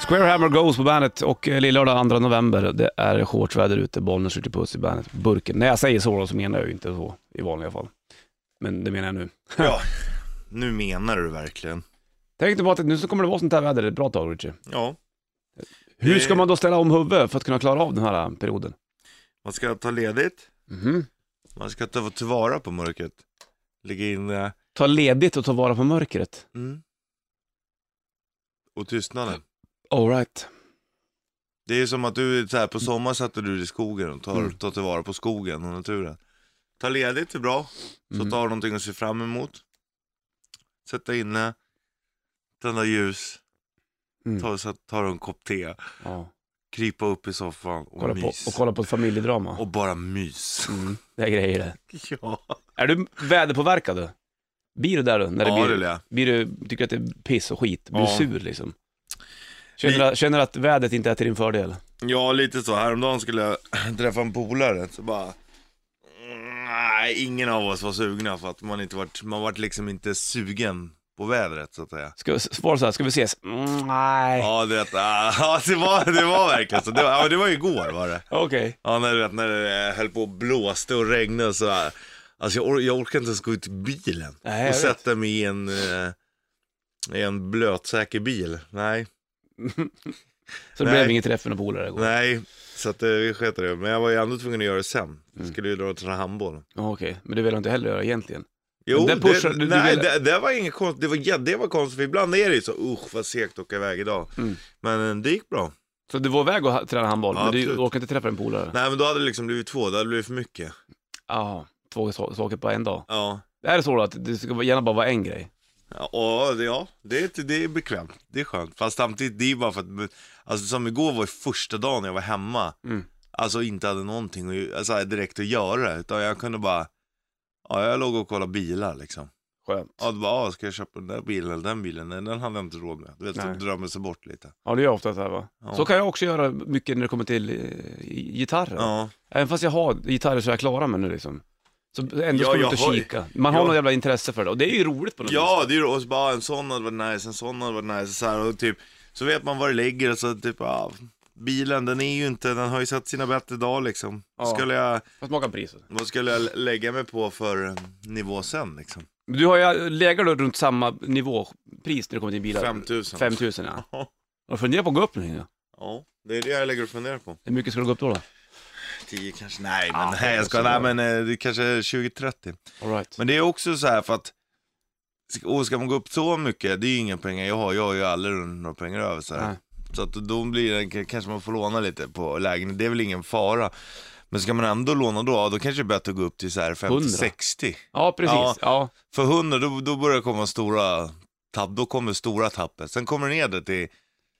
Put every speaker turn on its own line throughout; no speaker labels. Squarehammer Goes på bandet och eh, lillördag 2 november. Det är shortsväder ute, Bollnäs skjuter puss i bandet. Burken. När jag säger så då, så menar jag ju inte så i vanliga fall. Men det menar jag nu.
Ja, nu menar du verkligen.
Tänkte bara att nu så kommer det vara sånt här väder ett bra tag Richie.
Ja,
Hur
Det-
ska man då ställa om huvudet för att kunna klara av den här eh, perioden?
man ska ta ledigt,
Mhm.
man ska ta tillvara på mörkret. Lägga in... eh,
Ta ledigt och ta vara på mörkret.
Mm. Och tystnaden.
Alright.
Det är som att du, är så här, på sommar satte du dig i skogen och tar,
Mm.
tar tillvara på skogen och naturen. Ta ledigt är bra, så
Mm.
tar du någonting att se fram emot. Sätta inne, tända ljus,
Mm.
ta, så, tar en kopp te,
Ja.
krypa upp i soffan och
Kolla på,
mys.
och kolla på ett familjedrama.
Och bara mys.
Mm. Det är grejer det.
Ja,
Är du väderpåverkad då? Blir du där då? När det
ja
blir,
det vill jag.
blir du, tycker att det är piss och skit? Blir
Ja.
du sur liksom? Känner, du känner du att vädret inte är till din fördel?
Ja, lite så. Häromdagen skulle jag träffa en polare, så bara... Mm, Nej, ingen av oss var sugna för att man inte vart, man vart liksom inte sugen på vädret så att säga.
Ska, var det så här, ska vi ses? Mm, nej.
Ja, du vet, ah, ja, det, var, det var verkligen så. Det var, ja, men det var ju igår var det.
Okej.
Ja, när, du vet, när det eh, höll på och blåste och regnade och så här. Alltså jag, or- jag orkar inte ens gå ut i bilen
Nej, jag
och
vet.
sätta mig i en, eh, i en blötsäker bil. Nej,
Så det
Nej.
blev inget träff med några polare igår?
nej. Så att eh, vi sket i det. Men jag var ju ändå tvungen att göra det sen.
Mm.
Jag skulle ju dra och träna handboll.
Ja, Okej, men det vill du inte heller göra egentligen?
Jo,
där
det,
pushar du- du
nej,
vill-
det, det var inget konstigt. Det var, jä- det var konstigt, för ibland är det ju så, usch vad segt att åka iväg idag.
Mm.
Men eh, det gick bra.
Så du var iväg och ha- träna handboll,
Ja,
men du
absolut.
orkar inte träffa din polare?
Nej, men då hade det liksom blivit två, det hade blivit för mycket.
Ja, två sa- saker på en dag.
Ja.
Är det så då att det ska gärna bara vara en grej?
Ja, och det- ja det, är, det är bekvämt. Det är skönt. Fast samtidigt, det är bara för att, alltså som igår var ju första dagen jag var hemma.
Mm.
Alltså inte hade någonting att, alltså, direkt att göra, utan jag kunde bara, ja jag låg och kollade bilar liksom.
Skönt.
Ja, det bara, ja, ska jag köpa den där bilen eller den bilen? Nej, den hade jag inte råd med. Du vet,
Nej.
typ drömmer sig bort lite.
Ja, det gör jag ofta så här va?
Ja.
Så kan jag också göra mycket när det kommer till eh, gitarrer.
Ja,
Även fast jag har gitarrer så är jag klarar mig nu liksom. Så ändå
Ja,
ska man
jag
ut och
har-
kika. Man har
ja.
något jävla intresse för det och det är ju roligt på något
ja det är ju, och så bara "Ah, en sån hade varit nice, en sån hade varit nice, så här, och typ, så vet man var det ligger och så typ, ja, bilen den är ju inte, den har ju sett sina bättre dagar liksom.
Ja.
Skulle jag
vis. Fast man kan priset.
Vad skulle jag lägga mig på för eh, nivå sen liksom?
Du har ju, lägger du runt samma nivå, pris när det kommer till bilar?
5000.
5000 ja.
Ja.
Och fundera på att gå upp nu. ja.
Ja, det är det jag lägger och funderar på.
Hur mycket ska du gå upp då? då?
10 kanske? Nej, men
Ja,
nej, jag ska,
så bra.
nej, men eh, det är kanske 20-30.
All right.
Men det är också så här för att, ska- och ska man gå upp så mycket, det är ju inga pengar jag har, jag har ju aldrig några pengar över så här.
Nej.
Så att då blir det, k- kanske man får låna lite på lägenhet, det är väl ingen fara. Men ska man ändå låna då, ja, då kanske det är bättre att gå upp till så här
100.
50-60.
Ja, precis.
Ja.
Ja.
För 100 då, då börjar det komma stora tapp, då kommer stora tappet. Sen kommer det ner det till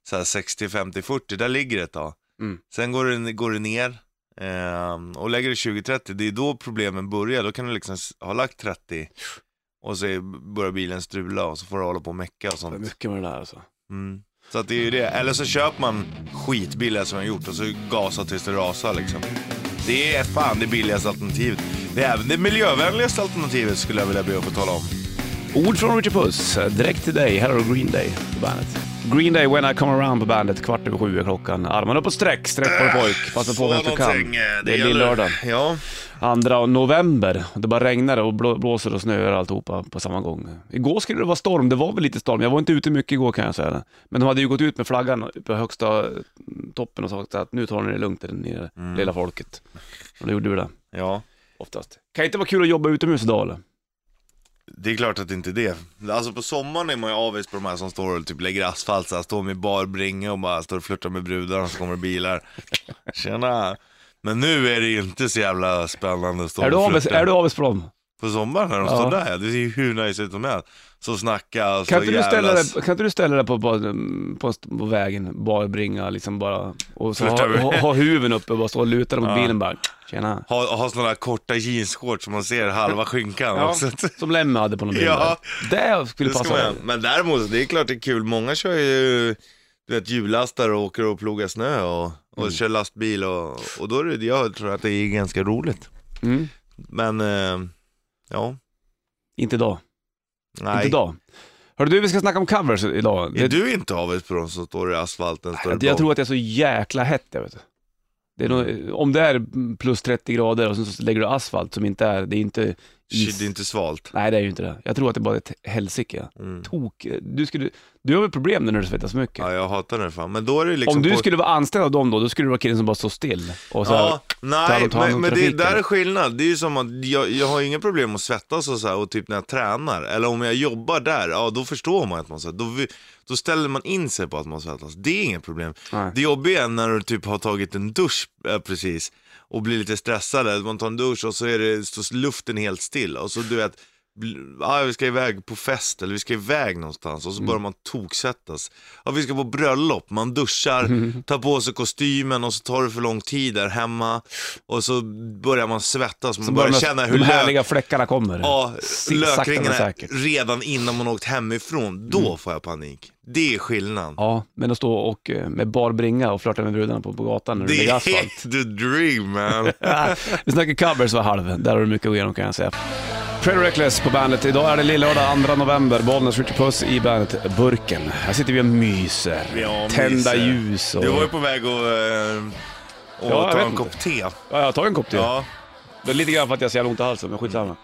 så här 60, 50, 40, där ligger det ett tag.
Mm.
Sen går det, går det ner ehm, och lägger det 20, 30, det är då problemen börjar. Då kan du liksom s- ha lagt 30 och så är- börjar bilen strula och så får du hålla på och mecka
Det
och
är
sånt.
mycket med det där alltså.
Mm. Så att det är ju det. Eller så köper man skitbilliga som jag har gjort och så gasar tills det rasar liksom. Det är fan det billigaste alternativet. Det är även det miljövänligaste alternativet skulle jag vilja be att få tala om.
Ord från Richard Puss, direkt till dig. Här har du Green Day på bandet. Green Day, When I Come Around på bandet, kvart över sju är klockan. Armarna upp och sträck, sträck på dig pojk. Passa på medan du
eh,
kan. Det är lillördag,
Ja,
2 november. Det bara regnar och blå- blåser och snöar och alltihopa på samma gång. Igår skulle det vara storm, det var väl lite storm. Jag var inte ute mycket igår kan jag säga. Men de hade ju gått ut med flaggan på högsta mm, toppen och sagt att nu tar ni det lugnt där nere,
Mm.
lilla folket. Och då gjorde vi det,
ja.
oftast. Kan inte vara kul att jobba utomhus idag eller?
Det är klart att det inte är det. Alltså på sommaren är man ju avis på de här som står och typ lägger asfalt, så här, står med bar bringa och bara står och flörtar med brudar och så kommer det bilar. Tjena! Men nu är det ju inte så jävla spännande att stå
Är du
och
avis-
flörta.
är du avis på dem?
På sommaren när de
Ja.
står där, det ser ju hur nice ut som helst. Så snacka och så
Kan inte, du ställa dig,
jävlas.
kan inte du ställa dig på, på, på, på vägen, bara bringa liksom bara, och så
Flirta
ha,
med-
ha, ha huven uppe och bara stå och luta dig mot
Ja.
bilen bara, tjena.
Ha, ha sådana här korta jeansshorts som man ser halva skinkan
Ja.
också.
Som Lemmy hade på någon bil
Ja.
där. Det skulle
Det ska
passa
man
dig.
göra. Men däremot, det är klart det är kul. Många kör ju du vet, hjullastare och åker och plogar snö och, och
Mm.
kör lastbil och, och då är det, jag tror att det är ganska roligt.
Mm.
Men, eh, ja,
Inte idag,
nej.
inte idag. Hörru du, vi ska snacka om covers idag.
Är
Det-
du inte avis på de som står i asfalten? Står
jag,
i
tror att det är så jäkla hett, jag vet. Det är
Mm.
nog, om det är plus 30 grader och sen så lägger du asfalt som inte är, det är inte
Shit,
is.
det är inte svalt.
Nej, det är ju inte det. Jag tror att det bara är ett helsike.
Mm.
Tok. Du, skulle, du har väl problem när du svettas mycket?
Ja, jag hatar det fan. Men då är det liksom
om du
på...
skulle vara anställd av dem då, då skulle du vara killen som bara står still. Och så här,
Ja,
tar
nej,
de hand om
men, men det
trafiken.
där är skillnad. Det är ju som att jag, jag har inga problem att svettas och så här, och typ när jag tränar, eller om jag jobbar där, ja då förstår man att man svettas. Då, vi- då ställer man in sig på att man svettas. Det är inget problem.
Nej.
Det jobbiga är när du typ har tagit en dusch eh, precis och blir lite stressad. Man tar en dusch och så är det, står luften helt still och så du vet, bl- ah, vi ska iväg på fest eller vi ska iväg någonstans och så
Mm.
börjar man toksättas. Ja, vi ska på bröllop, man duschar,
Mm.
tar på sig kostymen och så tar det för lång tid där hemma och så börjar man svettas, man
så
börjar
börjar
känna
de-
hur
de
lök
härliga fläckarna kommer.
Ja,
S- sakta men
lökringarna
säkert. Mm.
redan innan man åkt hemifrån, då får jag panik. Det är skillnaden.
Ja, men att stå och eh, med bar bringa och flörta med brudarna på, på gatan när du
Det
lägger asfalt.
är the dream man.
Vi snackar covers var halv, där har du mycket att gå igenom kan jag säga. Pretty Reckless på bandet. Idag är det lillördag 2 november. Bollnäs Richard Puss i bandet Burken. Här sitter vi och myser.
Ja, myser.
Tända ljus och...
Du var ju på väg att, eh,
jag
att ta
vet
en
inte.
kopp te.
Ja, jag har tagit en kopp till.
Ja.
Det är lite grann för att jag har så jävla ont i halsen, men skitsamma.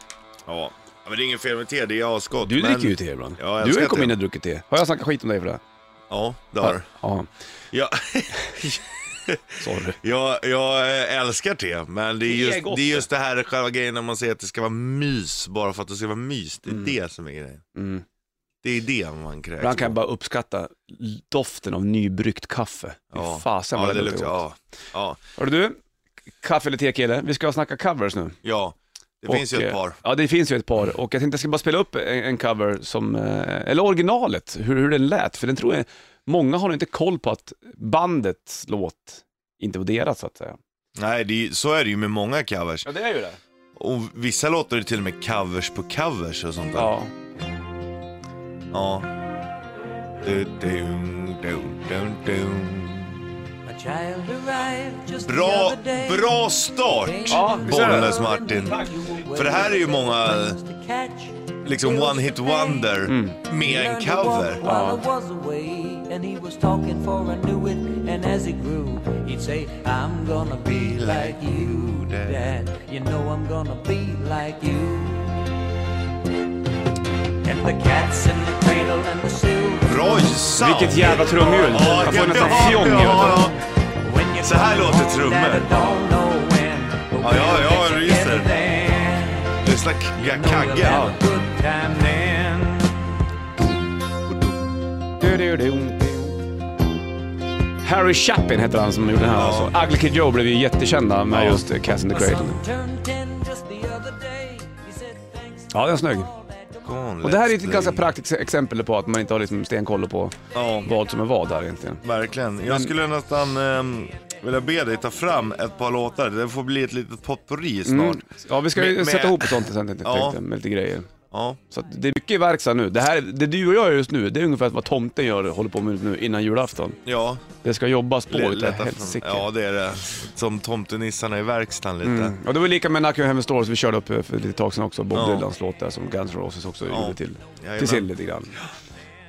ja. Men det är inget fel med te, det är asgott.
Du
men...
dricker ju te ibland.
Ja, jag
du har ju
älskar
kommit
te.
in och druckit te. Har jag snackat skit om dig för det?
Ja, det har du.
Ja,
Ja,
sorry.
jag, jag eh, älskar te, men det är,
är
just,
gott,
det är just det här själva grejen när man säger att det ska vara mys bara för att det ska vara mys. Det är det som är grejen.
Mm.
Det är det man kräks
Ibland kan jag
på.
bara uppskatta doften av nybryggt kaffe. Fy
Ja.
fasen
Ja,
vad
det
det
luktar.
gott.
Ja. Ja.
Hörru du, kaffe eller te kille? Vi ska snacka covers nu.
ja, det
Och,
finns ju ett
eh,
par.
Ja, det finns ju ett par. Och jag tänkte jag ska bara spela upp en, en cover som, eh, eller originalet, hur, hur den lät. För den tror jag, många har nog inte koll på att bandets låt inte var deras så att säga.
Nej, det är, ju- så är det ju med många covers.
Ja, det är ju det.
Och vissa låtar är till och med covers på covers och sånt där.
Ja.
Ja. Du, du, du, du, du.
A child arrived just the
Bra,
other day.
bra start!
Ja, visst är det.
Bollnäs Martin. För det här är ju många
To catch.
liksom one hit wonder
Mm.
med en cover.
While I was away and he was talking for I knew it and as he grew he'd say I'm gonna be like you dad you know I'm gonna be like you And the cats in the cradle and the silver
Bra sound!
Vilket jävla trumhjul!
Ja,
Jag
det-
får nästan
ja,
fjong.
ja,
when you
Så här
come
låter
home,
trummor.
Dad, I don't know when, but
Ja, ja,
we'll
ja,
get
jag ryser.
together then.
ja. Lyssna, jag kaggar.
Harry Chapin heter han som gjorde den här
Ja.
alltså. Ugly Kid Joe blev ju jättekända med
Ja.
just eh, Cats in the Cradle. Ja, den är snygg.
Come on,
Och det här är
let's
ett
do.
ganska praktiskt exempel på att man inte har liksom stenkoll på
Ja,
vad som är vad här egentligen.
verkligen. Jag skulle nästan ehm, vilja be dig ta fram ett par låtar. Det får bli ett litet potpourri snart.
Mm. Ja, vi ska ju
Med- med-
sätta ihop ett sånt sen tänkte jag,
Ja.
tänkte jag, med lite grejer.
Ja.
Så att det är mycket verkstad nu. Det, här, det du och jag gör just nu, det är ungefär vad tomten gör, håller på med nu innan julafton.
Ja,
Det ska jobbas på
L-
utav
lätta fram.
helsike.
Ja, det är det. Som tomtenissarna i verkstaden lite.
Mm. Ja, det var lika med Nacken Heaven Stores vi körde upp eh, för lite tag sedan också, Bob
Ja.
Dylans låt där som Guns N' Roses också
Ja.
gjorde till,
Jajamän.
till sin lite grann.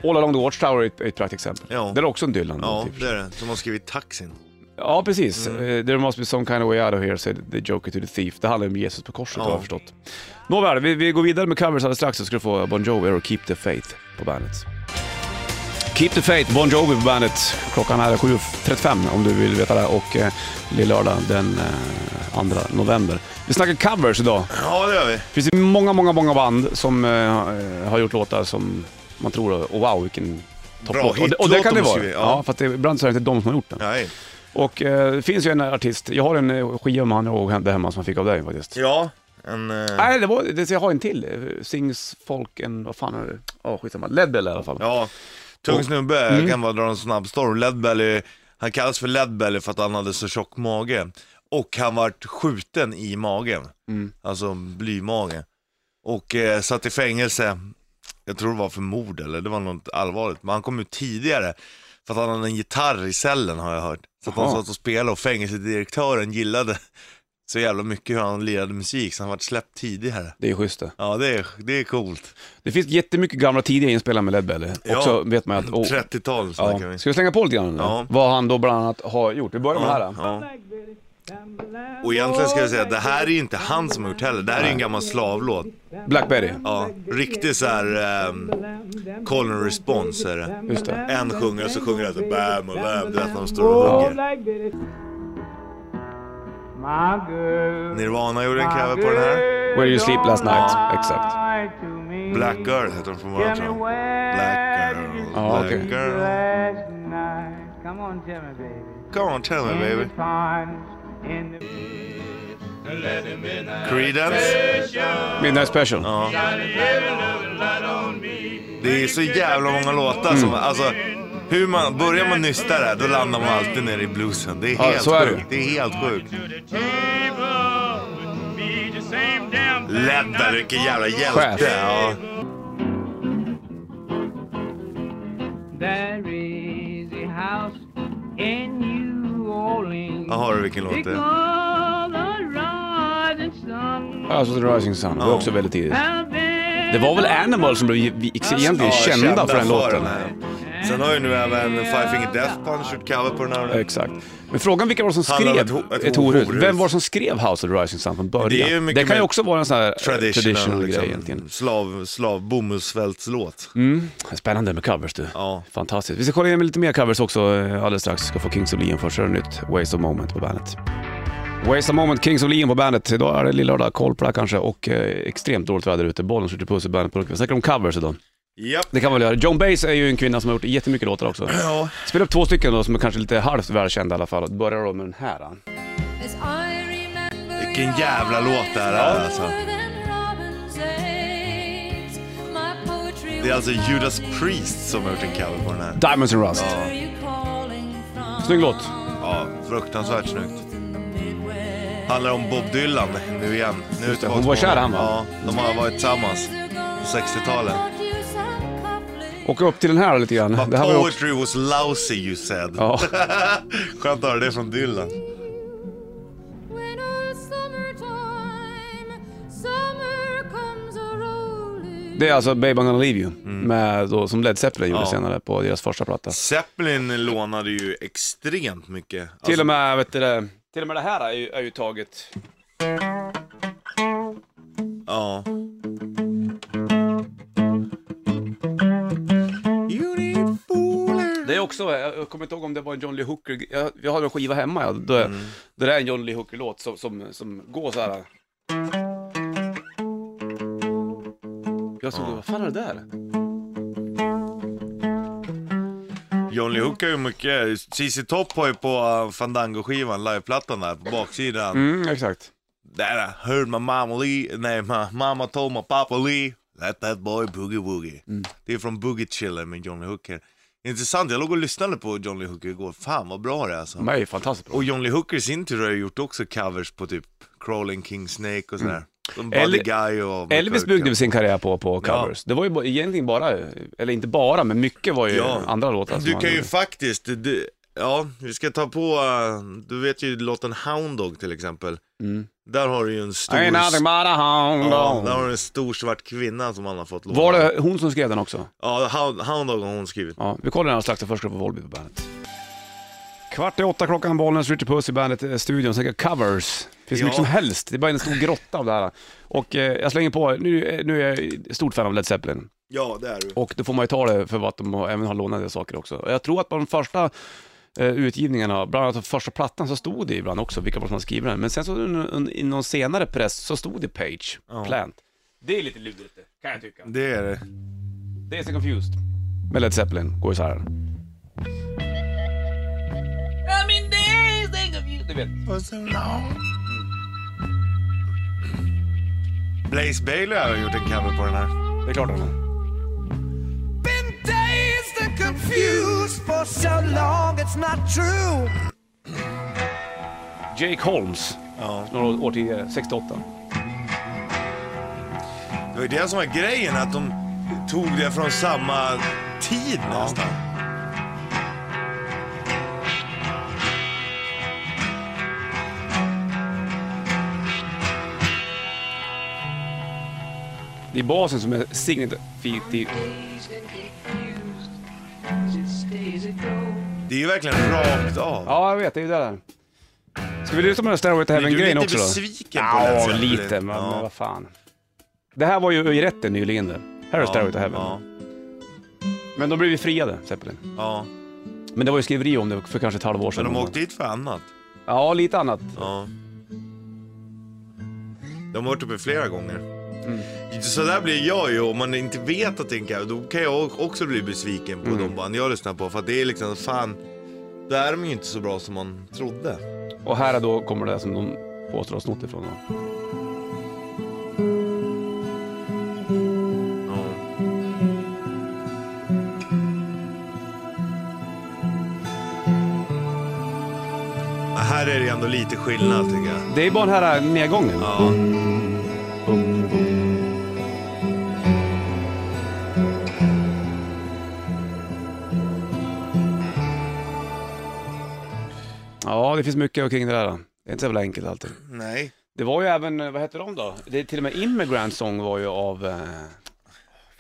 All Along the Watchtower är ett, är ett praktexempel.
Ja.
Det är också en Dylan.
Ja,
typ.
det är det. Som har skrivit taxin.
ja precis.
Mm.
Eh, There must be some kind of way out of here, said the Joker to the thief. Det handlar om Jesus på korset
Ja.
har jag förstått. Nåväl, vi, vi går vidare med covers alldeles strax så ska du få Bon Jovi och Keep the Faith på bandet. Keep the Faith, Bon Jovi på bandet. Klockan är 7.35 om du vill veta det och eh, lillördag den eh, 2 november. Vi snackar covers idag.
Ja, det gör vi.
Det finns ju många, många, många band som eh, har gjort låtar som man tror, oh, wow vilken
Bra
topplåt.
hit,
Och, det- och det
låt
kan det
de
vara. Ja.
skriver, ja.
för att det, ibland så är det inte de som har gjort den.
Nej.
Och eh, det finns ju en artist, jag har en eh, skiva med han jag hade hemma som jag fick av dig faktiskt.
Ja, en... eh,
Nej, det var, det, jag har en till. Eh, Sings folk en, vad fan är det? Ja, skitsamma. Ledbell i alla fall.
Ja, tung
Och- Mm.
snubbe. Jag kan bara dra en snabb storm. Ledbelly, han kallas för Ledbelly för att han hade så tjock mage. Och han vart skjuten i magen.
Mm.
Alltså blymage. Och eh, satt i fängelse. Jag tror det var för mord eller det var något allvarligt. Men han kom ut tidigare. För att han hade en gitarr i cellen har jag hört. Så att han
Jaha.
satt och spelade och fängelsedirektören gillade så jävla mycket hur han lirade musik så han vart släppt tidigare.
Det är schysst det.
Ja, det är, det är coolt.
Det finns jättemycket gamla tidiga inspelningar med Led Belly.
Ja.
Också vet man att... åh,
30-tal
ja.
snackar vi.
Ska vi slänga på lite grann nu?
Ja.
Vad han då bland annat har gjort. Vi börjar med det här. då.
Ja. Och egentligen ska jag säga att det här är ju inte han som har gjort heller. Det här är ju en gammal slavlåt.
Blackberry.
Ja, riktigt såhär um, call and response är det.
Just det.
En sjunger och så sjunger han så bam och bam. Det är att de står och hugger. Nirvana gjorde en cover på den här.
Where you sleep last night. Exakt.
Black Girl heter den från början tror jag. Black Girl,
Ja,
Black
okej.
Girl.
Come on, tell me, baby.
Come on tell me baby. Creedence.
Midnight Special.
Det är så jävla många låtar som,
Mm.
alltså hur man, börjar man nysta där då landar man alltid nere i bluesen. Det är
Ja,
helt
så är det.
sjukt. Det är helt sjukt. Ledda, vilken jävla
Chef.
hjälte. Ja.
There is a house in New Orleans.
Vad har du vilken låt det är?
Alltså The Rising Sun. Det var
Ja.
också väldigt tidigt. Det var väl Animal som blev vi- egentligen
Alltså, Ja,
kända för den låten.
här. Sen har ju nu även Five Finger Death Punch gjort cover på den här.
Exakt. Men frågan vilka var det som
Handlar om
skrev ett,
ett ho- ett
horhus?
horhus.
Vem var det som skrev House of the Rising Sun från början?
Det är ju
Det,
mycket
kan ju
mer
också vara en sån här eh,
Traditional,
traditional
liksom.
grej egentligen.
Slav, slav, bomullsfältslåt.
Mm. Spännande med covers du.
Ja.
Fantastiskt. Vi ska kolla in med lite mer covers också eh, alldeles strax. Ska få Kings of Leon först, så är det nytt. Waste of Moment på bandet. Waste of Moment, Kings of Leon på bandet. Idag är det lillördag, koll på det här kanske och eh, extremt dåligt väder ute. Bollen skjuter puss i bandet. Vi snackar om covers idag.
Japp.
Det kan man väl göra. Joan Baez är ju en kvinna som har gjort jättemycket låtar också.
Ja.
Spela upp två stycken då som är kanske lite halvt välkända i alla fall. Börjar då med den här. eh. Då.
Vilken jävla låt det här är alltså. Det är alltså Judas Priest som har gjort en cover på den här.
Diamonds and Rust.
Ja,
Snygg låt.
ja fruktansvärt snyggt. Handlar om Bob Dylan nu igen. Nu är vi
det,
tillbaka
hon var
på
kär
honom.
han, va?
Ja, de har varit tillsammans på 60-talet.
Och upp till den här lite grann.
But
Det här var ju också...
poetry was lousy you said.
Ja.
Skönt att höra det från Dylan.
Det är alltså Babe I'm gonna leave you, med då, som Led Zeppelin gjorde
Ja.
senare på deras första platta.
Zeppelin lånade ju extremt mycket. Alltså,
Till och med, vet du det, till och med det här är ju, är ju taget.
Alltså, Ja.
Det är också, jag jag kommer inte ihåg om det var en John Lee Hooker, jag, jag har en skiva hemma, ja, då, då det är en John Lee Hooker-låt som, som, som går så här. Jag såg, vad fan är det där?
John
Mm.
Lee Hooker är ju mycket. ZZ Top har ju på uh, Fandango-skivan, liveplattan där på baksidan.
Mm, exakt.
Där uh, heard my mama Lee, nej my mama told my papa Lee, let that boy boogie woogie.
Mm.
Det är från Boogie Chiller med John Lee Hooker. Intressant, jag låg och lyssnade på John Lee Hooker igår. Fan vad bra det är alltså.
De är ju fantastiskt bra.
Och John Lee Hooker i sin tur har ju gjort också covers på typ Crawling King Snake och sådär. Mm.
El-
Buddy Guy och...
Elvis byggde sin karriär på, på
Ja.
covers. Det var ju ba- egentligen bara, eller inte bara, men mycket var ju
Ja.
andra låtar. som
Eh, Du
han
kan ju
gjorde.
faktiskt, du, ja, vi ska ta på, eh, du vet ju låten Hound Dog till exempel. Där har du ju en stor...
Ain't nothing but a hound
Ja,
dog.
där har du en stor svart kvinna som han har fått låna.
Var det hon som skrev den också?
Ja, Hound, Hound Dog har hon skrivit.
Ja, vi kollar den här strax, först ska du få Volbeat på bandet. Kvart i åtta klockan, Bollnäs, Richard Puss i bandet-studion, snacka covers. Finns
Ja.
mycket som helst, det är bara en stor grotta av det här. Och eh, jag slänger på, nu, eh, nu är jag stort fan av Led Zeppelin.
Ja, det är du.
Och då får man ju ta det för vad de har, även har lånade saker också. Och jag tror att på de första eh, utgivningarna, bland annat på första plattan, så stod det ibland också vilka som hade skrivit den. Men sen så un- un- i någon senare press så stod det Page, Plant. Det är lite lurigt, kan jag tycka.
Det är det.
Det är så confused. Men Led Zeppelin går ju så här. Du vet.
Blaze Bailey har gjort en cover på den här.
Det är klart han har. Jake Holmes,
Ja.
några år tidigare, 68.
Det var ju det som var grejen, att de tog det från samma tid nästan.
Det är basen som är signifikativ.
Det är ju verkligen rakt av.
Ja, jag vet. Det är ju det där. Ska vi lyssna på den här Stairway to
Blir du
Heaven-grejen
lite
också då?
besviken på Led
Ja,
Zeppelin?
lite. Men,
Ja.
men vad fan. Det här var ju i rätten nyligen det. Här är
Ja,
Stairway to Heaven.
Ja,
Men de blev ju friade, Zeppelin.
ja.
Men det var ju skriveri om det för kanske ett halvår
Men
sedan.
de åkte hit för annat.
Ja, lite annat.
Ja. De har varit uppe flera gånger.
Mm.
Så där blir jag ju, om man inte vet att det är en cover, då kan jag också bli besviken
Mm.
på de band jag lyssnar på. För att det är liksom, fan, då är de ju inte så bra som man trodde.
Och här då kommer det som de påstår har snott ifrån. då.
Ja. Men Här är det ändå lite skillnad tycker jag.
Det är bara den här eh, nedgången.
Ja.
Ja, det finns mycket kring det där. då. Det är inte så jävla enkelt alltid.
Nej.
Det var ju även, eh, vad hette de då? Det är till och med Immigrant Song var ju av... Eh...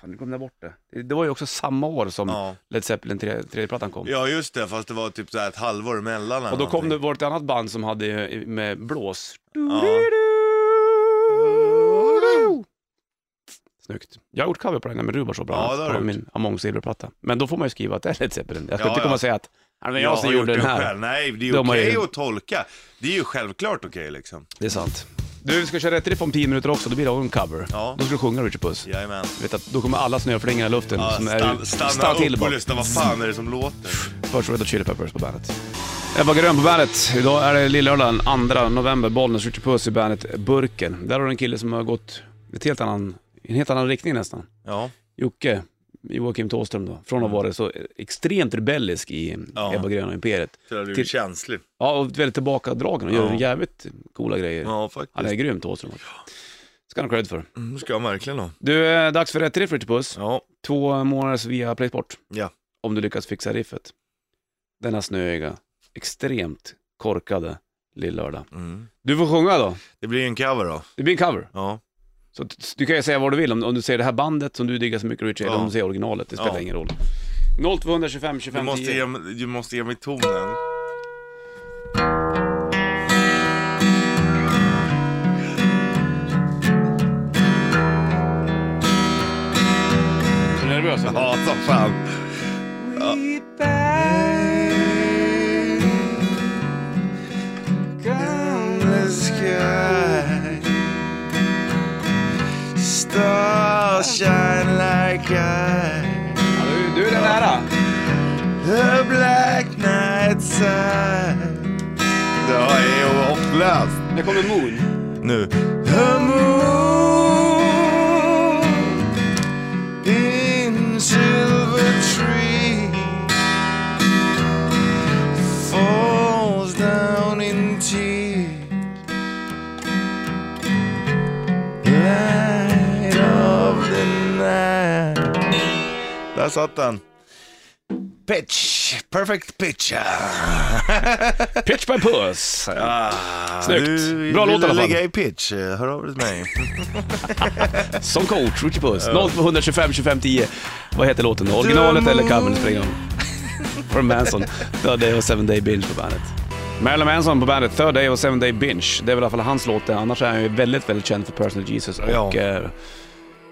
Fan, nu kom jag bort det. det. Det var ju också samma år som
Ja.
Led Zeppelin tre- tredje plattan kom.
Ja just det, fast det var typ så här ett halvår emellan. eller
Och då kom
någonting.
det, var det ett annat band som hade eh, med blås. Snyggt. Jag har gjort cover på den här med Rubar så bra.
Ja, det har
på
du gjort.
min Among Silver-platta. Men då får man ju skriva att det är Led Zeppelin. Jag ska
Ja,
inte
ja.
komma och säga att "Ja, det var
Jag,
jag, som
har
gjorde
gjort
den
det
här.
själv. Nej, det är
De har ju-
okej att tolka. Det är ju självklart okej liksom.
Det är sant. Du, vi ska köra rätt riff om 10 minuter också, då blir det också en cover.
Ja.
Då ska du sjunga Richard Puss.
Jajamän.
Vet att då kommer alla snöflingor i luften
Ja,
som
stanna
är...
stanna upp
till bara.
och lyssna, vad fan är det som låter?
Först Red Hot Chili Peppers på bandet. Ebba Grön på bandet. Idag är det lillördagen 2 november. Bollnäs, Richard Puss i bandet Burken. Där har du en kille som har gått ett helt annan, i en helt annan riktning nästan.
Ja,
Jocke, Joakim Thåström då. Från att ha varit så extremt rebellisk i
Mm. Ja.
Ebba Grön och Imperiet.
så du är
Till-
känslig.
Ja, och väldigt tillbakadragen och gör
Ja.
jävligt coola grejer.
Ja,
Han är
faktiskt.
grym Thåström. Ska han ha cred för.
Mm, ska jag verkligen ha.
Du, eh, dags för rätt riff Richard Puss.
Ja.
Två månaders via Playsport.
Ja.
Om du lyckas fixa riffet. Denna snöiga, extremt korkade lillördag.
Mm.
Du får sjunga då.
Det blir en cover då.
Det blir en cover.
Ja.
Så t- du kan ju säga vad du vill. Om, om du säger det här bandet som du diggar så mycket Richard, eller
Ja.
om du säger originalet, det spelar
Ja.
ingen roll. 0225
Du
25
måste,
10.
ge, mig- du måste ge mig tonen.
Är du nervös? eller?
Ja, som fan. Ja. Stars shine like eyes.
Ja, du, du är den nära.
The black night side Det är ju hopplöst.
Det kommer Moon.
Nu. The moon in silver tree falls down in tears Light of the night Där satt den. Pitch, perfect pitch.
Pitch by Puss.
Ah,
Snyggt.
Du
Bra låt i alla fall.
ligga i pitch, hör av dig till mig.
Som coach, Richard Puss. 0225 25 10. Vad heter låten då? Originalet eller covern? Spring om. Från Manson. Third Day och Seven Day Binge på bandet. Marilyn Manson på bandet Third Day och Seven Day Binge. Det är väl i alla fall hans låt. det. Annars är han ju väldigt, väldigt känd för Personal Jesus och
Ja.
eh,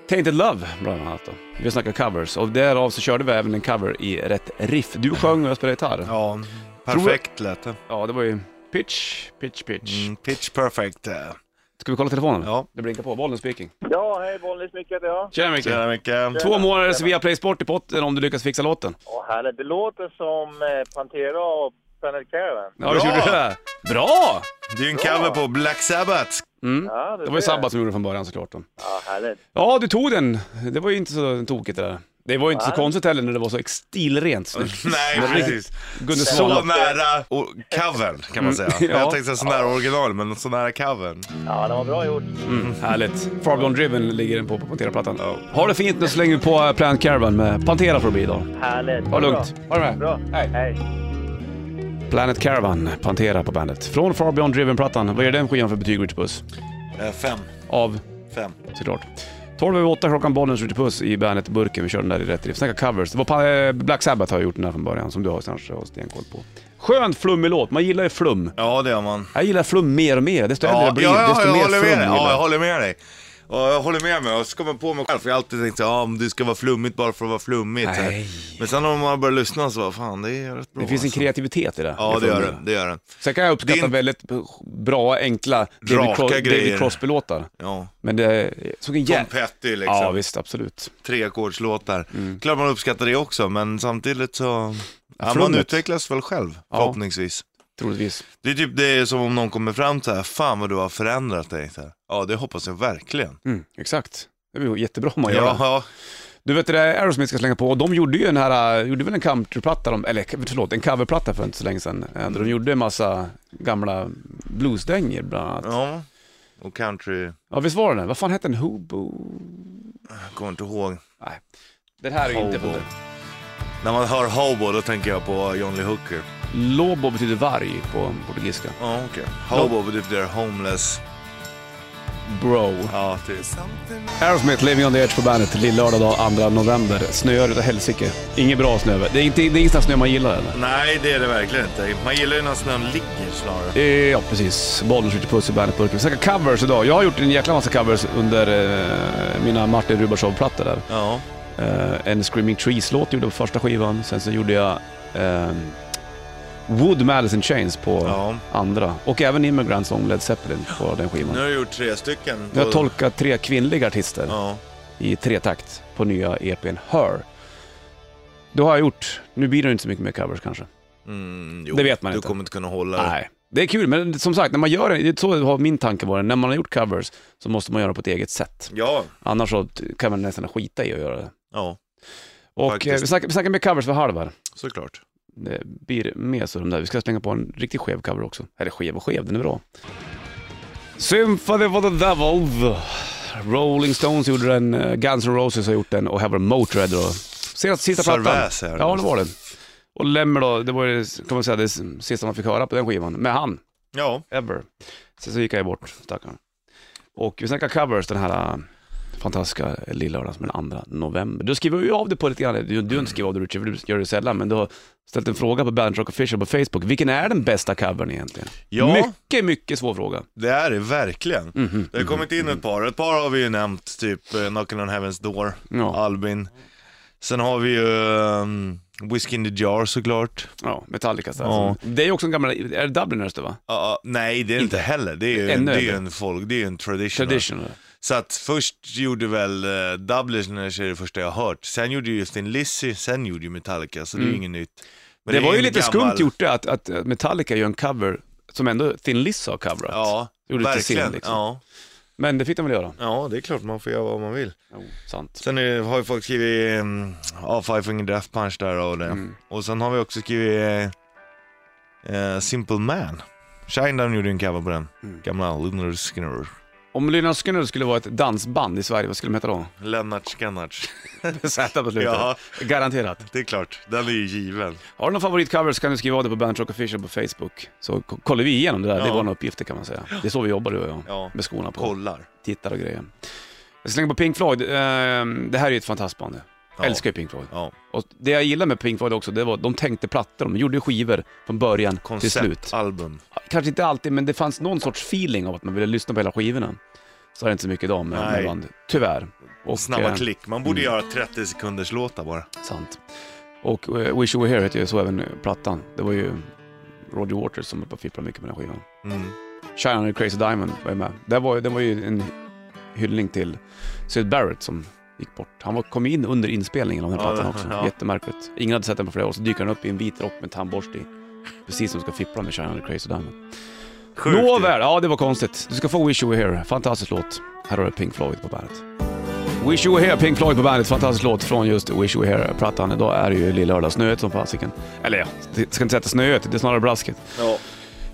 Tainted Love bland annat då. Vi snackar covers och därav så körde vi även en cover i rätt riff. Du sjöng och jag spelade gitarr. Ja,
Ja, perfekt lät det.
det var ju pitch, pitch, pitch.
Mm, pitch perfect. eh.
Ska vi kolla telefonen?
Ja.
Det blinkar på. Bollen speaking.
Ja, hej Bollnäs Micke heter jag.
Tjena Micke.
Tjena Micke.
Två månaders Viaplay Sport i potten om du lyckas fixa låten.
Ja, härligt. Det låter som eh, Pantera och Planet Caravan.
Ja, det
Bra!
gjorde det. Bra!
Det är ju en cover på Black Sabbath.
Mm.
Ja, det,
Det var ju Sabba som gjorde det från början såklart. Då.
Ja, härligt.
Ja, du tog den. Det var ju inte så tokigt det där. Det var ju inte så konstigt heller när det var så stilrent snyggt.
Nej,
Men
precis.
Gunde
Så
Svan.
nära och covern kan man säga.
Mm, ja.
Jag tänkte säga så nära original, men så nära covern.
Ja, det var bra gjort.
Mm, härligt. Far Gone Driven ligger den på på Pantera-plattan. Ha det fint, nu slänger vi på Plant Caravan med Pantera får det bli idag.
Härligt.
Ha det lugnt. Ha det med.
Bra.
Hej.
Hej.
Planet Caravan, Pantera på bandet. Från Far Beyond Driven-plattan. Vad ger den skivan för betyg, Richard Puss?
Eh, Fem.
Av,
Fem.
såklart. 12 över 8 klockan, bollen skjuter puss i bandet Burken. Vi kör den där i rätt riff. Snacka covers. Det var pa- eh, Black Sabbath har gjort den här från början, som du har kanske har stenkoll på. Skönt flummig låt, man gillar ju flum.
Ja, det gör man.
Jag gillar flum mer och mer, desto äldre
Ja,
jag
ja,
blir,
ja,
desto
jag
mer
håller
flum
med dig.
gillar
Ja, jag
jag.
håller med dig. Och jag håller med mig och så kommer jag på mig själv, för jag har alltid tänkt så här, ah, men det ska vara flummigt bara för att vara flummigt. så här.
Nej.
Men sen när man börjar lyssna så bara, fan det är rätt bra.
Det finns en
alltså.
kreativitet i det.
Ja,
i
det gör
flummen.
det. Det gör det.
Sen kan jag uppskatta
Din-
väldigt bra, enkla David,
Raka
Cros- David
grejer.
Crosby-låtar.
Ja.
Men det såg en
Tom
jävla...
Petty liksom.
Ja, visst, absolut.
Treackordslåtar.
Mm.
Klart man uppskattar det också, men samtidigt så... Ja, man
Flummet.
utvecklas väl själv,
Ja.
förhoppningsvis.
Troligtvis.
Det är typ det är som om någon kommer fram så här, fan vad du har förändrat dig. Så här. Ja, det hoppas jag verkligen.
Mm, exakt. Det blir jättebra om man gör
Ja,
det.
ja.
Du vet det där Aerosmith ska slänga på, och de gjorde ju den här, äh, gjorde väl en countryplatta, de- eller förlåt, en coverplatta för inte så länge sedan. Äh, Där de gjorde en massa gamla bluesdängor bland annat. Ja.
ja. Och country,
visst var det den? Vad fan hette den? Hobo?
jag kommer inte ihåg.
Nej. Det här är ju inte
Hobo.
för
När man hör hobo då tänker jag på John Lee Hooker.
Lobo betyder varg på portugisiska.
Ja, okej. Hobo betyder homeless.
Bro.
Ja, typ.
Aerosmith, Living on the Edge på bandet, lillördag dag 2 november. Snöar utav helsike. Inget bra snöväder. Det är inte, det är ingen sån här snö man gillar eller?
Nej, det är det verkligen inte. Man gillar ju när snön ligger snarare.
Eh, Ja, precis. Bollen skjuter puss i bandetburken. Vi snackar covers idag. Jag har gjort en jäkla massa covers under eh, mina Martin Rubashov-plattor där.
Ja.
Eh, en Screaming Trees-låt gjorde jag på första skivan. Sen så gjorde jag eh, Wood med Alice in Chains på
Ja.
andra. Och även Immigrant Song Led Zeppelin på den skivan.
Nu har jag gjort tre stycken.
Jag har tolkat tre kvinnliga artister
Ja.
i tretakt på nya EPn Her. Det har jag gjort. Nu blir det inte så mycket mer covers kanske.
Mm, jo,
Det vet man
du
inte.
Du kommer inte kunna hålla det.
Nej, det är kul, men som sagt, när man gör det, det är så har min tanke varit, när man har gjort covers så måste man göra det på ett eget sätt.
Ja.
Annars så t- kan man nästan skita i att göra det.
Ja,
Och
Faktiskt.
eh, vi snackar, vi snackar med covers för halv här.
såklart.
Det blir mer så de där. Vi ska slänga på en riktigt skev cover också. Eller skev och skev, den är bra. Symphony for the Devil. Rolling Stones gjorde den, eh, Guns N' Roses har gjort den och här var det Motörhead då. Sista, sista plattan.
Servais är det.
Ja, det var det. Och Lemmer då, det var ju, kan man säga, det sista man fick höra på den skivan. Med han.
Ja.
ever. Sen så gick jag ju bort, stackarn. Och vi snackar covers den här äh, fantastiska lillördagen som är den 2 november. Du skriver ju av det på lite grann, du, du har inte skrivit av det Richie, för du gör det sällan, men du har ställt en fråga på Bandit Rock Official på Facebook. Vilken är den bästa covern egentligen?
Ja.
Mycket, mycket svår fråga.
Det är det verkligen.
Mhm.
Det har kommit in ett par. Ett par har vi ju nämnt, typ eh, Knocking on Heaven's Door,
Ja.
Albin. Sen har vi ju um, Whiskey in the Jar såklart.
Ja, Metallica så
Ja.
alltså. Det är ju också en gammal, är det Dubliners det va?
Ja, ja, nej, det är det inte heller. Det är ju,
Ännu
det är ju
äldre.
en folk, det är ju en tradition.
Traditional.
Så att först gjorde väl uh, Dubliners är det första jag har hört. Sen gjorde ju Justin Lizzy, sen gjorde ju Metallica, så det är ju inget nytt. Men
Mm. Det,
är
var ju
en
lite
gammal-
skumt gjort det, att, att Metallica gör en cover som ändå Thin Lizzy har coverat.
Ja,
Gjorde det till sin,
verkligen.
liksom.
ja.
Men det fick de väl göra.
ja, det är klart man får göra vad man vill.
Jo, sant.
Sen är, har ju folk skrivit um, ja, Five Finger Death Punch där och det. Och sen har vi också skrivit eh, eh, Simple Man. Shinedown gjorde ju en cover på den. Gamla Lunar Skinner.
Om Lynyrd Skynyrd skulle vara ett dansband i Sverige, vad skulle de heta då?
Lennart Skinnarts.
Z på slutet.
Ja.
Garanterat.
Det är klart, den är ju given.
Har du någon favoritcover så kan du skriva av det på Bandit Rock Official på Facebook. Så k- kollar vi igenom det där. Det är
Ja.
våra uppgifter kan man säga. Det är så vi jobbar du och jag.
Ja.
Med skorna på.
Kollar.
Tittar och grejer. Jag slänger på Pink Floyd. Ehm, Det här är ju ett fantastiskt band. Jag
Ja.
älskar ju Pink Floyd.
Ja.
Och det jag gillar med Pink Floyd också, det var att de tänkte plattor. De gjorde skivor från början till slut.
Konceptalbum.
Kanske inte alltid, men det fanns någon sorts feeling av att man ville lyssna på hela skivorna. Så är det inte så mycket idag med, med
Nej.
band. Tyvärr. Och, eh,
Snabba klick. Man borde göra 30 sekunders låtar bara.
Sant. Och eh, Wish You Were Here heter ju så även eh, plattan. Det var ju Roger Waters som höll på att fippla mycket med den här skivan.
Mm.
Shine on your crazy diamond var ju med. Det var, ju- den var ju en hyllning till Syd Barrett som gick bort. Han var, kom ju in under inspelningen av den
Ja,
plattan
det-
också.
ja.
Jättemärkligt. Ingen hade sett den på flera år, så dyker han upp i en vit rock med tandborste i. Precis som ska fippla med Shine on your crazy diamond.
Sjukt ju.
Nåväl, ja det var konstigt. Du ska få Wish You Were Here. Fantastisk låt. Här har du Pink Floyd på bandet. Wish You Were Here, Pink Floyd på bandet. Fantastisk låt från just Wish You Were Here-plattan. Idag är det ju lillördag, snöet som fasiken. Eller ja, det ska inte sätta snöet, det är snarare blasket.
Ja.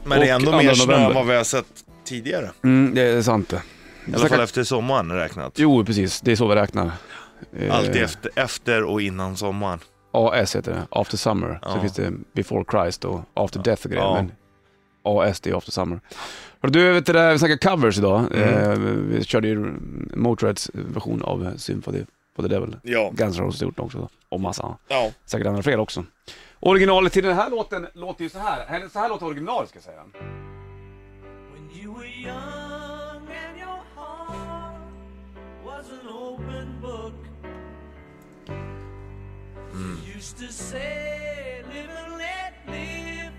Men
Och
det är ändå mer
andra
snö
november.
än vad vi har sett tidigare.
Mm, det är sant det.
I alla fall efter sommaren räknat.
Jo, precis. Det är så vi räknar. Eh,
Alltid efter, efter och innan sommaren.
AS heter det, After Summer. Så
Ja.
finns det Before Christ och After Death och grejer.
Ja.
Men ASD After Summer. Hörru Du, vet du, det där, vi snackar covers idag.
Mm.
Eh, vi körde ju Motörheads version av Symphony for the Devil.
Ja.
Guns N' Roses har gjort den också. Och massa annat.
Ja.
Säkert andra fler också. Originalet till den här låten låter ju så här. Eller Så här låter originalet ska jag säga.
When you were young and your heart was an open book. You used to say, live and let live.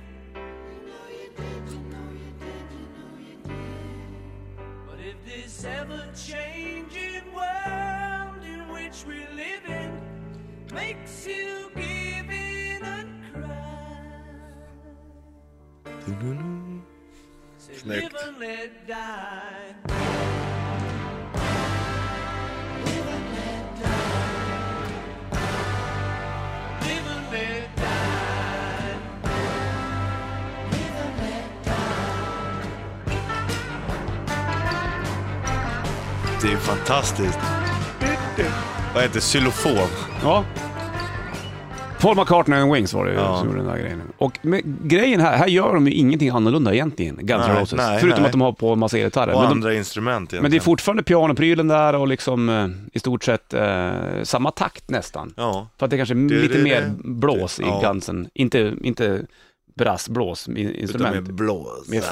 But if this ever changing world in which we live in makes you give in and cry. Say,
Snyggt.
live and let die. Live and let die.
Det är fantastiskt. Vad heter xylofon?
Ja. Paul McCartney and Wings var det ju
Ja.
som gjorde den där grejen. Och med, grejen här, här gör de ju ingenting annorlunda egentligen, Guns N'
Nej,
Roses.
nej,
Förutom
nej.
att de har på en massa elgitarrer.
Och
Men, de,
andra instrument egentligen.
men det är fortfarande pianoprylen där och liksom eh, i stort sett eh, samma takt nästan.
Ja.
För att det kanske är
Du,
lite
du,
mer
du.
blås i
Ja.
Gunsen. Inte, inte brassblås i
Utan med
instrument.
blås.
Med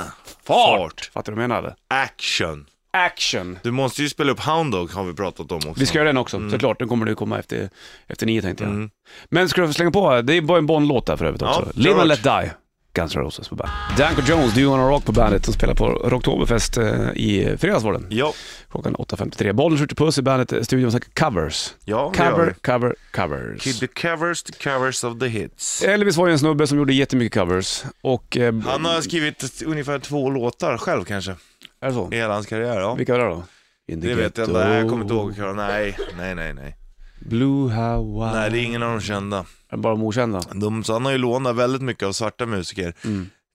fart.
Fattar du vad jag menade?
Action.
Action!
Du måste ju spela upp Hound Dog har vi pratat om också.
Vi ska göra den också, såklart. Den kommer du komma efter, efter nio tänkte jag. Men ska du få slänga på, det är bara en Bond-låt där för övrigt också.
Ja,
Live
klart.
and let die. Guns N' Roses på bandet. Danko Jones, Do You Wanna Rock på bandet, som spelar på Rocktoberfest eh, i fredags var den.
Ja,
Klockan 8.53. Bollen skjuter puss i bandet, eh, studion snackar covers.
ja det gör
Cover,
vi.
cover, covers.
Kid the covers, the covers of the hits.
Elvis var ju en snubbe som gjorde jättemycket covers och... Eh,
Han har skrivit ungefär två låtar själv kanske,
Är det så?
i hela hans karriär. Ja.
Vilka var det då? In the
Det vet jag
ghetto,
inte, Nej, jag kommer inte ihåg. Karl. Nej, nej, nej, nej.
Blue Hawaii.
Nej, det är ingen av de kända.
Bara de okända.
De, så han har ju lånat väldigt mycket av svarta musiker.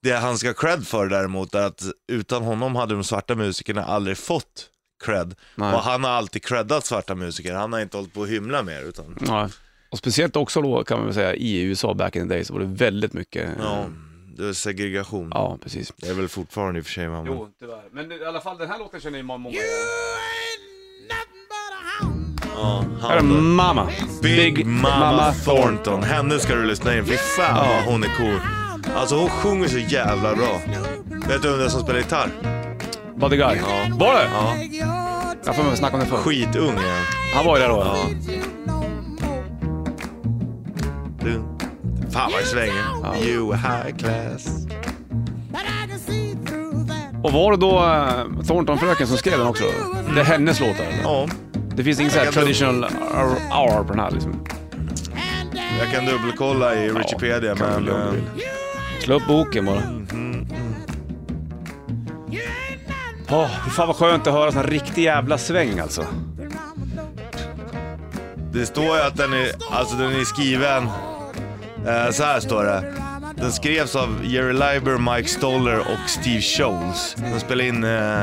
Det han ska ha cred för däremot är att utan honom hade de svarta musikerna aldrig fått cred.
Nej.
Och han har alltid creddat svarta musiker, han har inte hållit på att hymla mer. Utan,
Ja. Och speciellt också då kan man väl säga i USA back in the day så var det väldigt mycket... eh,
ja, det är segregation.
ja precis.
Det är väl fortfarande i och för sig. va, men-
tyvärr. Men i alla fall den här låten känner ju många
Ja,
Här är
han då.
Mamma.
Big, Mama, Thornton. Henne ska du lyssna in. Fy fan vad hon är cool. Alltså hon sjunger så jävla bra. Vet du vem det är som spelar gitarr?
Var det guy?
Ja.
Var det?
Ja.
Jag får mig snacka om det förr.
Skitung är han.
Han var ju där då.
Ja. Du. Fan vad det svänger. You high class.
Och var det då eh, Thornton-fröken som skrev den också? Det är hennes låtar eller?
Ja,
Det finns ingen sån här
Jag kan inte-
traditional R- R på den här liksom.
jag kan dubbelkolla i Wikipedia
kan
men...
du lugnt
eh,
vill. Slå upp boken bara. Åh, fy fan vad skönt att höra sån här riktig jävla sväng alltså.
Det står ju att den är, alltså den är skriven... Eh, så här står det. Den skrevs av Jerry Leiber, Mike Stoller och Steve Scholes. Den spelade in eh,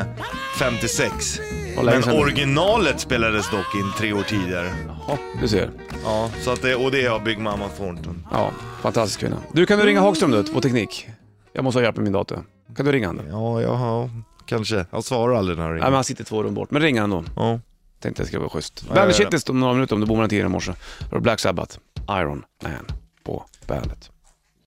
56.
Och länge
Men
sedan.
originalet spelades dock in tre år tidigare.
Ja, du ser.
Ja, så att det, och det är av Big Mama Thornton.
Ja, fantastisk kvinna. Du, kan du ringa Hagström du, på teknik? Jag måste ha hjälp med min dator. Kan du ringa honom? Nej,
Ja, ja, kanske. Han svarar aldrig när han
men han sitter två rum bort. Men ring han då.
Ja.
Tänkte jag skulle vara schysst.
jag
Bandet
gör det.
Shitlist om några minuter om du bommar tio i morse. Då är det Black Sabbath, Iron Man på bandet.